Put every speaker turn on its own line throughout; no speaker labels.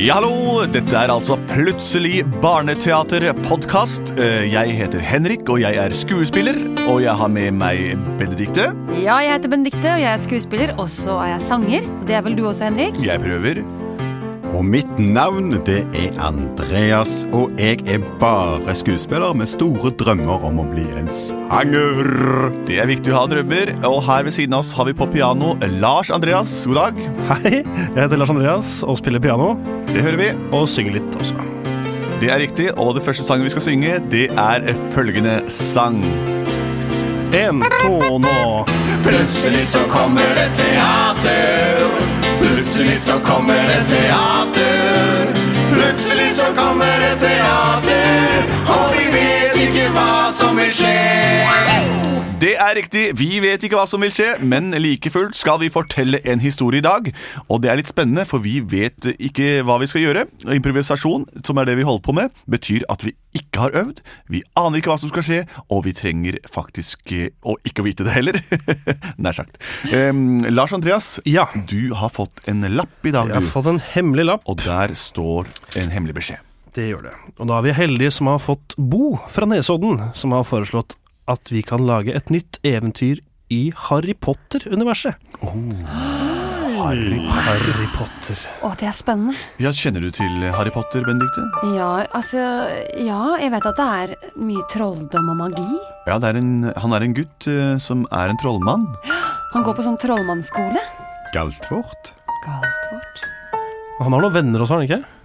Ja, hallo! Dette er altså Plutselig barneteaterpodkast. Eh, Jeg heter Henrik, og jeg er skuespiller. Og jeg har med meg Benedikte.
Ja, jeg heter Benedikte, og jeg er skuespiller, og så er jeg sanger. Og det er vel du også, Henrik?
Jeg prøver.
Og mitt navn det er Andreas, og jeg er bare skuespiller med store drømmer om å bli en sanger.
Det er viktig å ha drømmer. Og her ved siden av oss har vi på piano Lars Andreas. God dag.
Hei, jeg heter Lars Andreas og spiller piano.
Det hører vi.
Og synger litt også.
Det er riktig. Og det første sangen vi skal synge, det er følgende sang.
En, to, nå.
Plutselig så kommer det teater. Plutselig så kommer det teater. Plutselig så kommer det teater, og vi vet ikke hva som vil skje.
Det er riktig. Vi vet ikke hva som vil skje, men like fullt skal vi fortelle en historie i dag. Og det er litt spennende, for vi vet ikke hva vi skal gjøre. Og Improvisasjon, som er det vi holder på med, betyr at vi ikke har øvd, vi aner ikke hva som skal skje, og vi trenger faktisk eh, å ikke vite det heller. Nær sagt. Em, Lars Andreas,
Ja.
du har fått en lapp i dag,
Jeg har
du.
fått en hemmelig lapp.
Og der står en hemmelig beskjed.
Det gjør det. Og da er vi heldige som har fått Bo fra Nesodden, som har foreslått at vi kan lage et nytt eventyr i Harry Potter-universet. Harry, Harry Potter.
Å, det er spennende.
Ja, Kjenner du til Harry Potter, Benedikte?
Ja, altså Ja, jeg vet at det er mye trolldom og magi.
Ja, det er en, han er en gutt eh, som er en trollmann.
Han går på sånn trollmannsskole.
Galtvort?
Galt vårt.
Han har noen venner også, har han ikke?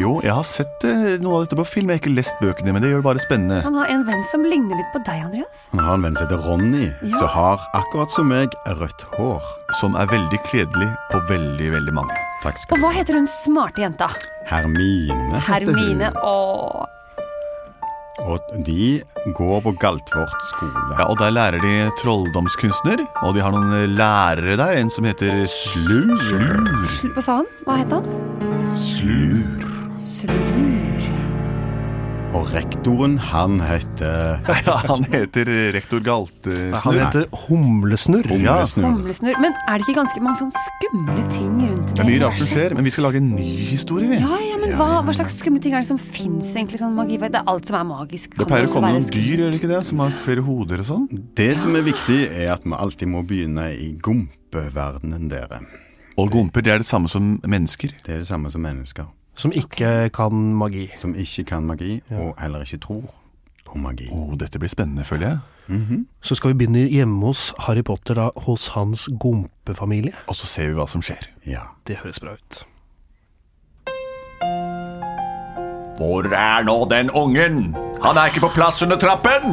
Jo, jeg har sett eh, noe av dette på film. Jeg har ikke lest bøkene, men det gjør det bare spennende.
Han har en venn som ligner litt på deg, Andreas.
Han har en venn som heter Ronny, som har akkurat som meg rødt hår.
Som er veldig kledelig på veldig, veldig mange.
Takk
Og
skal du
hva heter hun smarte jenta?
Hermine heter hun.
Hermine. Å,
Og de går på Galtvort skole.
Ja, Og der lærer de trolldomskunstner, og de har noen eh, lærere der. En som heter Slur. Slur.
hva sa han? Hva het han?
Slur.
Slur.
Og rektoren, han heter
Ja, han heter rektor
Han
Galtesnurr.
heter Humlesnurr.
Humlesnurr.
Humlesnurr. Men er det ikke ganske mange sånn skumle ting rundt
Det er mye rart som
universet?
skjer, men vi skal lage en ny historie, vi.
Ja, ja, men hva, hva slags skumle ting er det som fins egentlig? sånn magi? Det er alt som er magisk.
Det
kan
pleier å
også
komme
være
noen
skummelt.
dyr, gjør det ikke det? Som har flere hoder og sånn.
Det som er viktig, er at vi alltid må begynne i gompeverdenen dere.
Og gomper, det er det samme som mennesker.
Det er det samme som mennesker
Som ikke kan magi.
som ikke kan magi, og heller ikke tror på magi.
Oh, dette blir spennende, føler jeg.
Så skal vi begynne hjemme hos Harry Potter, da, hos hans gompefamilie.
Og så ser vi hva som skjer.
Ja.
Det høres bra ut.
Hvor er nå den ungen? Han er ikke på plass under trappen!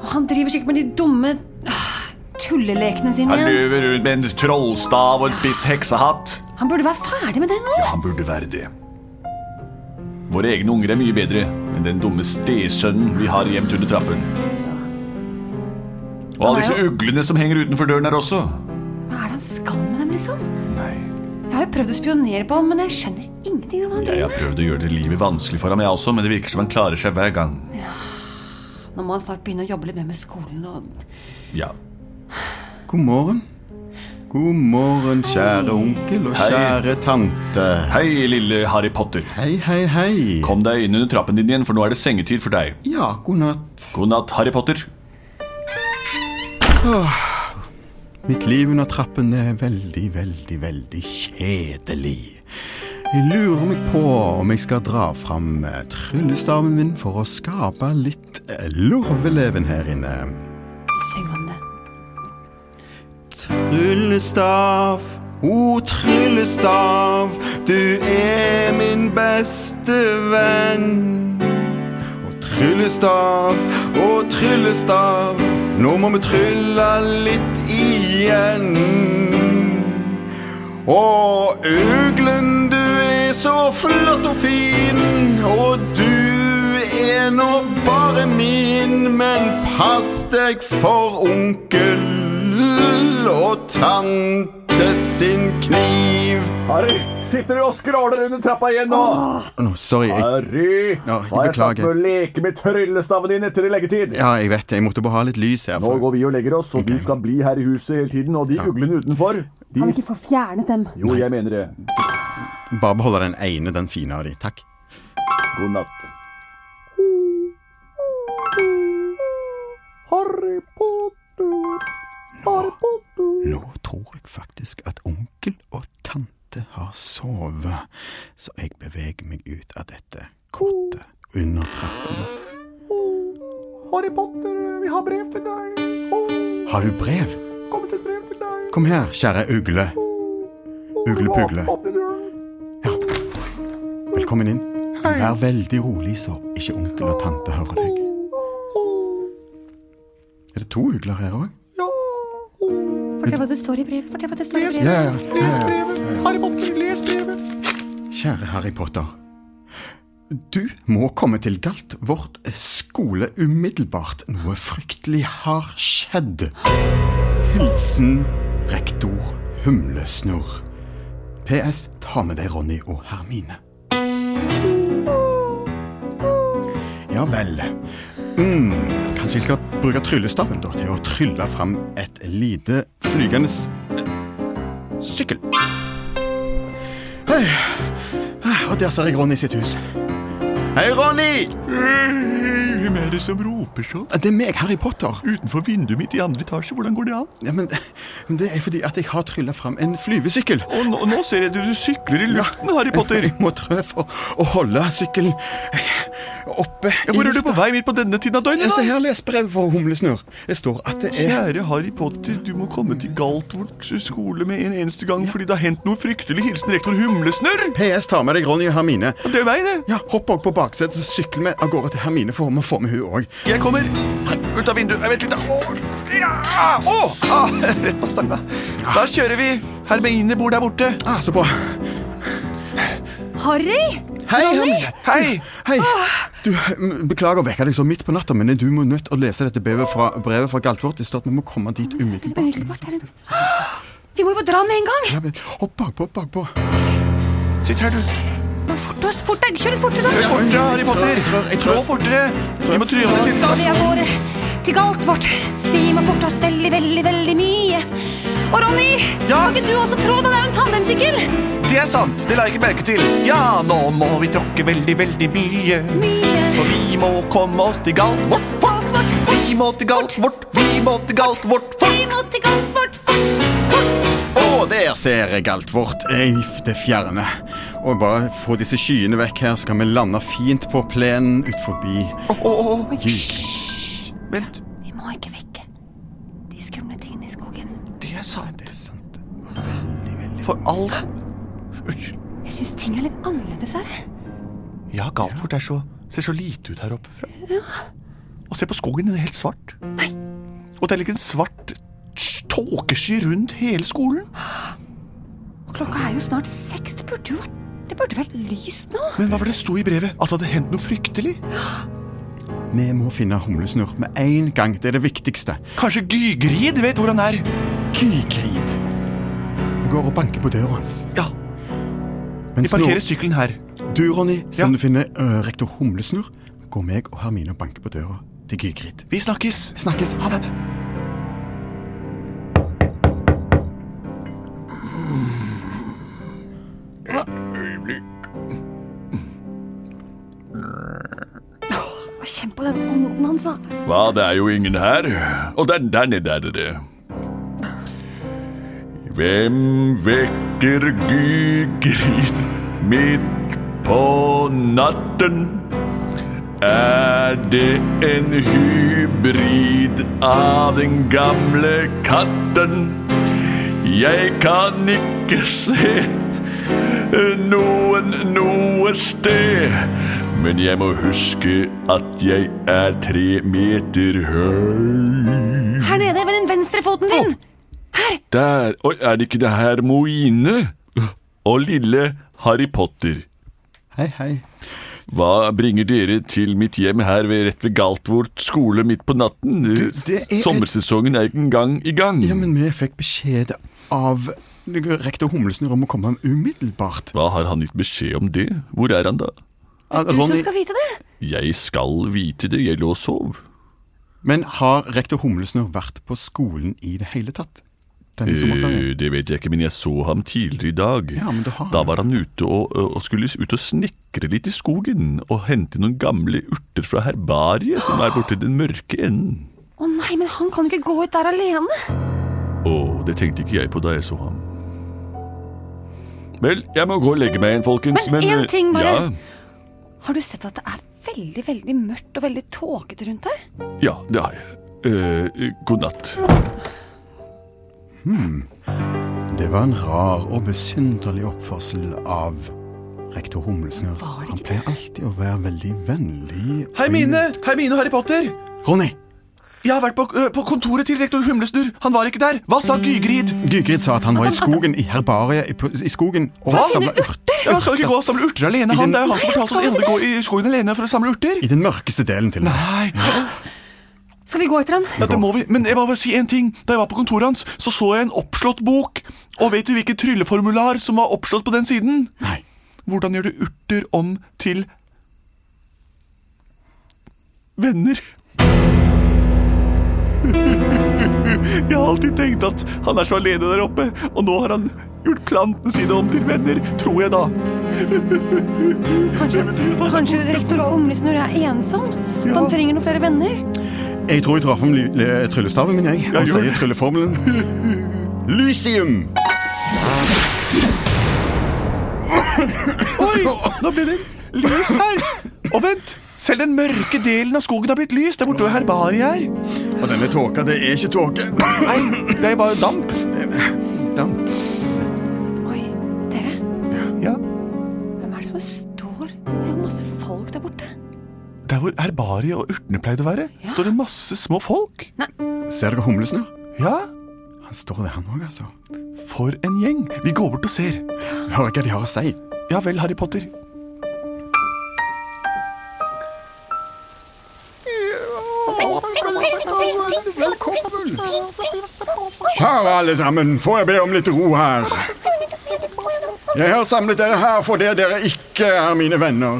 Og han driver sikkert med de dumme ah, tullelekene sine
Han
igjen.
løver rundt med en trollstav og en spiss heksehatt.
Han burde være ferdig med det nå.
Han burde være det. Våre egne unger er mye bedre enn den dumme stesønnen vi har gjemt under trappen. Og alle disse uglene som henger utenfor døren her også.
Hva er det han skal med dem, liksom?
Nei,
Jeg har jo prøvd å spionere på han, men jeg skjønner ingenting av hva han
jeg
driver
har prøvd å gjøre det livet vanskelig for ham, jeg også, men det virker som han klarer seg hver gang.
med. Nå må han snart begynne å jobbe litt mer med skolen og
Ja.
God morgen. God morgen, kjære onkel og
Hei.
kjære tante.
Hei, lille Harry Potter.
Hei, hei, hei.
Kom deg inn under trappen din igjen, for nå er det sengetid for deg.
Ja, god natt.
God natt, Harry Potter.
Mitt liv under trappen er veldig, veldig, veldig kjedelig. Jeg lurer meg på om jeg skal dra fram eh, tryllestaven min for å skape litt eh, lorveleven her inne.
synge om det.
Tryllestav, o tryllestav, du er min beste venn. Og tryllestav, å tryllestav, nå må vi trylle litt igjen. Og uglen, du er så flott og fin, og du er nå bare min. Men pass deg for onkel og tante sin kniv.
Harry, sitter du og skråler under trappa igjen nå?
Å, sorry, jeg
Harry,
Ja, jeg har jeg sagt beklager. med å
leke med tryllestaven din etter leggetid?
Ja, jeg vet det. Jeg måtte bare ha litt lys her. For...
vi og legger oss, og du skal bli her i huset hele tiden. Og de uglene utenfor
Kan vi ikke få fjernet dem?
Jo, jeg mener det.
Bare beholde den ene, den fine av de. Takk.
God natt.
Nå tror jeg faktisk at onkel og tante har sovet, så jeg beveger meg ut av dette kottet under trappen. Harry Potter, vi har brev til deg. Har du brev? Kom her, kjære ugle. Uglepugle. Ja. Velkommen inn. Vær veldig rolig, så ikke onkel og tante hører deg. Er det to ugler her òg?
Fortell hva det står i brevet. Fortell hva det står i brevet.
Ja, ja. Les brevet. Harry Potter, les brevet. Kjære Harry Potter. Du må komme til Galt, vårt skole, umiddelbart. Noe fryktelig har skjedd. Hilsen rektor Humlesnurr. PS. Ta med deg Ronny og Hermine. Ja vel. Mm, kanskje jeg skal bruke tryllestaven da, til å trylle fram et lite flygende s- sykkel. Hei. Ah, Og der ser jeg Ronny sitt hus. Hei, Ronny!
Hvem er det som roper sånn?
Det er meg, Harry Potter.
Utenfor vinduet mitt i andre etasje, hvordan går det an?
Ja, men men Det er fordi at jeg har trylla fram en flyvesykkel.
Og nå, nå ser jeg at du sykler i luften, Harry Potter.
Jeg må trø for å holde sykkelen oppe
Ja, hvor er du på vei midt på denne tiden av døgnet?
Se
da?
her, les brev fra Humlesnurr. Det står at det er
Kjære Harry Potter, du må komme til Galtvort skole med en eneste gang fordi det har hendt noe fryktelig. Hilsen rektor Humlesnurr.
PS tar med deg Ronny og Hermine.
Og Det er meg, det.
Ja, Hopp også på baksetet, så sykler vi av gårde til Hermine, for vi får med hun òg.
Jeg kommer ut av vinduet. Nei, Vent litt, da. Åh, ja, åh, ah, rett på stanga. Da kjører vi. Hermine bor der borte.
Ah, så bra.
Harry!
Hei, Ronny!
Hei!
Hei.
Ah.
Du, m- beklager å vekke deg så midt på natta, men du må nødt å lese dette brevet fra, brevet fra Galtvort. Det står at vi må komme dit umiddelbart.
Umiddelbart er det Vi må jo dra med en gang!
Ja, men Hopp bakpå, bakpå.
Sitt her, du.
Men Fort oss, fort deg! Kjør fortere, da!
Fortere, Harry
Jeg
Potter.
tror- jeg tror-
Trå fortere. Vi må trylle til
Skal vi av gårde til galt vårt? Vi må forte oss veldig, veldig, veldig mye. Og Ronny,
Ja?
kan ikke du også trå? Det er jo en tandemsykkel!
Det er sant. Det la jeg ikke merke til. Ja, nå må vi tråkke veldig, veldig mye.
Mye.
For vi må komme oss til Galtvort.
Galt vårt, fort!
Vi må til Galtvort. Vi må til Galtvort.
Vi må til galt vårt, fort!
Å, der ser jeg Galtvort i det fjerne. Og bare få disse skyene vekk her, så kan vi lande fint på plenen ut forbi
Åh, åh, åh.
Hysj!
Vent.
Vi må ikke vekke de skumle tingene i skogen.
Det er sant.
Sant. Veldig, veldig
For alt Unnskyld.
Jeg syns ting er litt annerledes her.
Ja, Galtvort er så, ser så lite ut her oppe fra. Og se på skogen, den er helt svart.
Nei.
Og der ligger en svart t- tåkesky rundt hele skolen.
Og klokka er jo snart seks. Det burde jo vært, det burde vært lyst nå.
Men hva var det det sto i brevet? At det hadde hendt noe fryktelig?
Vi må finne humlesnurr med en gang. Det er det viktigste.
Kanskje Gygrid vet hvor han er?
Kygrid. Vi går og banker på døra hans.
Ja,
Mens
de parkerer sykkelen her.
nå- du, Ronny, som
Ja.
du finner ø, rektor Humlesnurr, går meg og Hermine og banker på døra til Kygrid.
Vi snakkes.
Snakkes. Ha det.
Og Kjenn på den altså. ånden hans, da.
Hva, det er jo ingen her. Og der, der nede er det det. Hvem vekker Gygrid midt på natten? Er det en hybrid av den gamle katten? Jeg kan ikke se noen noe sted. Men jeg må huske at jeg er tre meter høy.
Her nede ved den venstre foten din.
Der Oi, er det ikke det her Moine? Og lille Harry Potter.
Hei, hei.
Hva bringer dere til mitt hjem her ved rett ved Galtvort skole midt på natten?
det er et-
Sommersesongen er ikke engang i gang.
Ja, men vi fikk beskjed av rektor Humlesnurr om å komme umiddelbart.
Hva har han gitt beskjed om det? Hvor er han da?
Du
sånn
som skal vite det.
Jeg skal vite det, jeg lå og sov.
men har rektor Humlesnurr vært på skolen i det hele tatt?
Eh,
denne sommerferien?
det vet jeg ikke, men jeg så ham tidligere i dag.
Ja, men du har-
Da var han ute og, og skulle ut og snekre litt i skogen og hente noen gamle urter fra herbariet som er borti den mørke enden.
Å nei, men han kan jo ikke gå ut der alene.
Å, det tenkte ikke jeg på da jeg så ham. Vel, jeg må gå og legge meg igjen, folkens.
Men
eh,
én ting bare.
Ja,
Har du sett at det er veldig, veldig mørkt og veldig tåkete rundt her?
ja det har jeg. Eh, god natt.
Det var en rar og besynderlig oppførsel av rektor Humlesnø.
Var det
Han
ikke
pleier alltid å være veldig vennlig.
Hei, Mine! Hei, Mine og Harry Potter!
Ronny!
Jeg har vært på, ø, på kontoret til rektor Humlesnurr. Han var ikke der. Hva sa Gygrid?
Gygrid sa at han var i skogen, i herbariet, i, på- i skogen. og
Hva?
samlet
Finne
urter.
Ja, han skal ikke gå og samle urter alene. Han, det er jo han som fortalte oss å gå i skogen alene for å samle urter.
I den mørkeste delen til og med.
Nei,
Skal vi gå etter han?
ja, det må vi. Men jeg må bare si en ting. Da jeg var på kontoret hans, så så jeg en oppslått bok. Og vet du hvilken trylleformular som var oppslått på den siden?
Nei.
Hvordan gjør du urter om til venner? Jeg har alltid tenkt at han er så alene der oppe, og nå har han gjort planten sine om til venner, tror jeg da.
Kanskje, kanskje rektor Humlesnurr er ensom? At han trenger noen flere venner?
Jeg tror jeg traff om ly- le- tryllestaven min, jeg. Og
gjør
sier
det.
trylleformelen. Lysium!
Oi, nå ble det lyst her. Og vent, selv den mørke delen av skogen har blitt lys. Det er borte hvor herbariet er.
Og denne tåka, det er ikke tåke.
Nei, det er bare damp.
Damp.
Oi, dere.
Ja,
Hvem er det som står? Det er jo masse folk der borte.
der hvor herbariet og urtene pleide å være,
Ja.
står det masse små folk.
Ser dere humlesnurr?
Ja,
Han står der, han òg, altså.
for en gjeng. Vi går bort og ser.
Hører hva de har å si.
Ja vel, Harry Potter.
Kjære alle sammen, får jeg be om litt ro her? Jeg har samlet dere her fordi dere ikke er mine venner.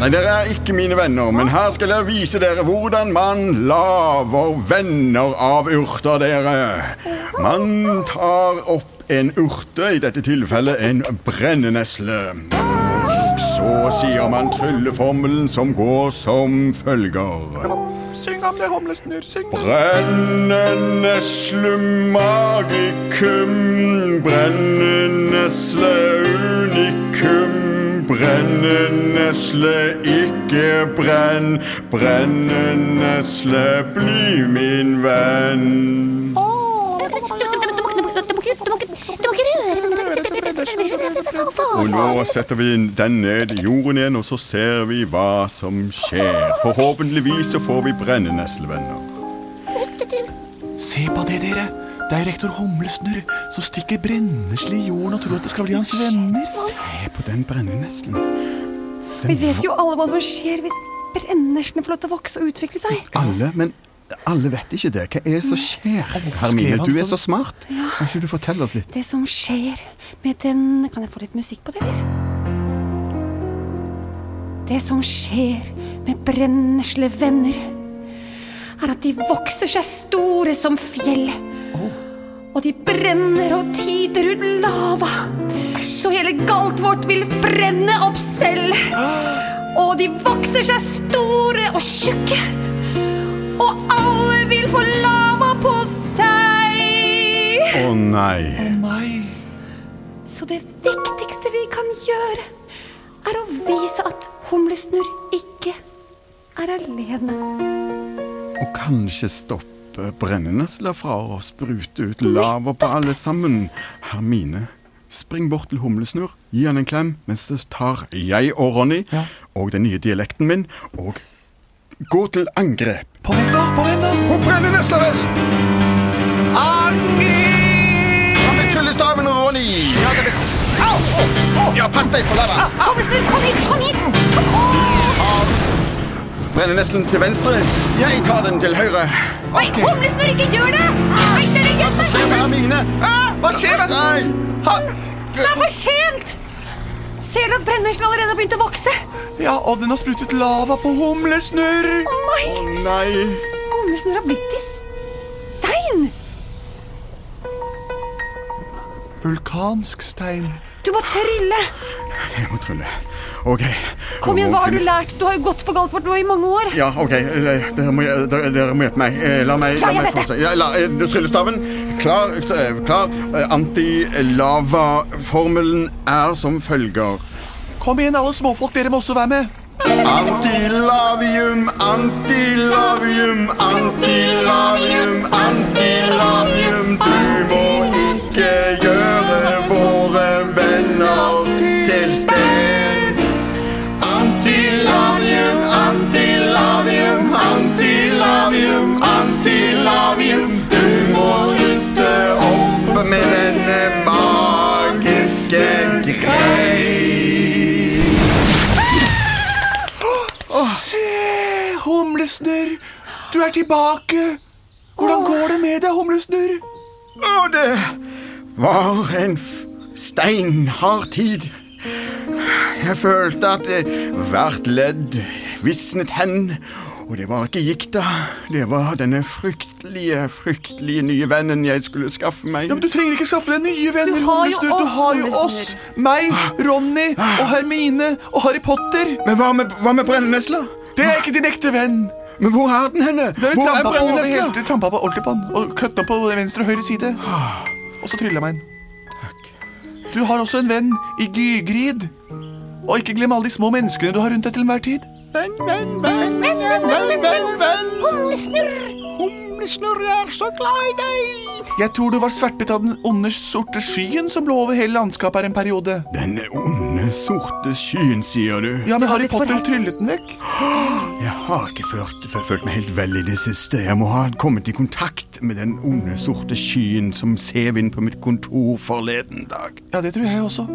Nei, dere er ikke mine venner, men her skal jeg vise dere hvordan man laver venner av urter, dere. Man tar opp en urte, i dette tilfellet en brennenesle. Så sier man trylleformelen som går som følger.
Syng om det, humlesnurr. Syng
Brennende slummagikum, brennende sle unikum, brennende sle ikke brenn, brennende sle bli min venn. Og nå setter vi den ned i jorden igjen, og så ser vi hva som skjer. Forhåpentligvis så får vi brenneneslevenner.
Se på det, dere. Det er rektor Humlesnurr som stikker brennesle i jorden og tror at det skal bli hans venner.
Se på den brenneneslen.
Vi vet jo alle hva som skjer hvis brenneslene får lov til å vokse og utvikle seg.
Alle, men alle vet ikke det. Hva er det som skjer?
skrev
Hermine,
han
du er
sånn?
så smart. Kan ikke du fortelle oss litt?
Det som skjer med den Kan jeg få litt musikk på det, eller? Det som skjer med brenneslevenner, er at de vokser seg store som fjell. Og de brenner og tyter ut lava. Så hele galt vårt vil brenne opp selv. Og de vokser seg store og tjukke. Og alle vil få lava på seg.
Å nei.
Nei.
Så det viktigste vi kan gjøre, er å vise at humlesnurr ikke er alene.
Og kanskje stoppe brennenesler fra å sprute ut lava på alle sammen. Hermine, spring bort til Humlesnurr, gi han en klem, mens så tar jeg og Ronny
Ja.
og den nye dialekten min og gå til angrep.
På hvem da? På hvem da?
På brennenesler, vel!
Angrip!
Fram med tryllestaven, Ronny! Ja, det blir- Au! Å, å! Ja, pass deg for lava!
Ah. Humlesnurr, kom hit! Kom hit!
Brenneneslen til venstre. Jeg tar den til høyre.
Nei, humlesnurr, ikke gjør det! Nei, dere gjør det!
Se med Hermine. Ah,
Hva skjer
Ah,
med
Nei!
Det er for sent! Ser du at brenneslen allerede har begynt å vokse?
Ja, og den har sprutet lava på humlesnurr.
Å nei!
Nei.
Humlesnurr har blitt til stein!
Vulkansk stein.
Du må trylle!
Jeg må trylle. Ok.
Kom igjen, hva har du lært? Du har jo gått på Galtvort nå i mange år.
Ja, ok. eh, Dere må, dere, dere må hjelpe meg. Eh, La meg,
Klar, jeg
la meg
vet det.
fortsette. Ja, la- eh, Tryllestaven. Klar. eh, klar. Eh, Antilavaformelen er som følger.
Kom igjen, alle småfolk, dere må også være med.
Antilavium, antilavium, antilavium, antilavium. Du må ikke gjøre våre venner til sten. Antilavium, antilavium, antilavium, antilavium. Du må slutte opp med denne magiske grei.
Se, humlesnurr, du er tilbake. Hvordan går det med deg, humlesnurr?
Og det var en f- steinhard tid. Jeg følte at eh, hvert ledd visnet hen. Og det var ikke gikta. Det var denne fryktelige, fryktelige nye vennen jeg skulle skaffe meg.
Ja, men Du trenger ikke skaffe deg nye venner,
Du har jo
humlesnurr. Du
oss,
har jo oss.
humlesnurr.
Meg, Ronny og Hermine og Harry Potter.
Men hva med, hva med brennesla?
Det er ikke din ekte venn.
Men hvor er den henne?
Det er vi
hvor
trampa på, over hele- vi trampa på ordentlig på han og køtta på både venstre og høyre side. Og så trylla meg inn. Du har også en venn i Gygrid. Og ikke glem alle de små menneskene du har rundt deg til enhver tid.
Venn, venn, venn, venn, venn, venn, venn.
Humlesnurr!
Humlesnurr er så glad i deg.
Jeg tror du var svertet av den onde sorte skyen som lå over hele landskapet her en periode.
Denne onde, sorte skyen, sier du.
Ja, men Harry
litt for
Potter
høyt.
tryllet den vekk.
Jeg har ikke følt, føl- følt meg helt vel i det siste. Jeg må ha kommet i kontakt med den onde, sorte skyen som sev inn på mitt kontor forleden dag.
Ja, det tror jeg også.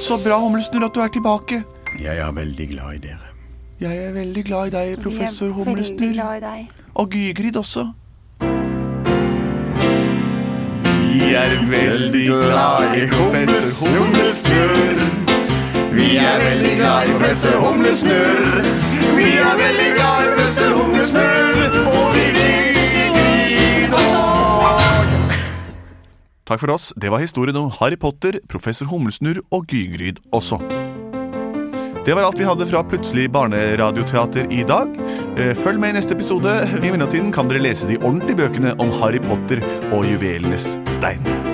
Så bra, Humlesnurr, at du er tilbake.
Jeg er veldig glad i dere.
Jeg er veldig glad i deg, professor
Vi er veldig
Humlesnurr.
glad i deg.
Og Gygrid også.
Vi er veldig glad i professor Humlesnurr. Vi er veldig glad i professor Humlesnurr. Vi er veldig glad i professor Humlesnurr. Og vi digger
Takk for oss. Det var historien om Harry Potter, professor Humlesnurr og Gygryd også. Det var alt vi hadde fra Plutselig barneradioteater i dag. Eh, Følg med i neste episode. I mellomtiden kan dere lese de ordentlige bøkene om Harry Potter og juvelenes stein.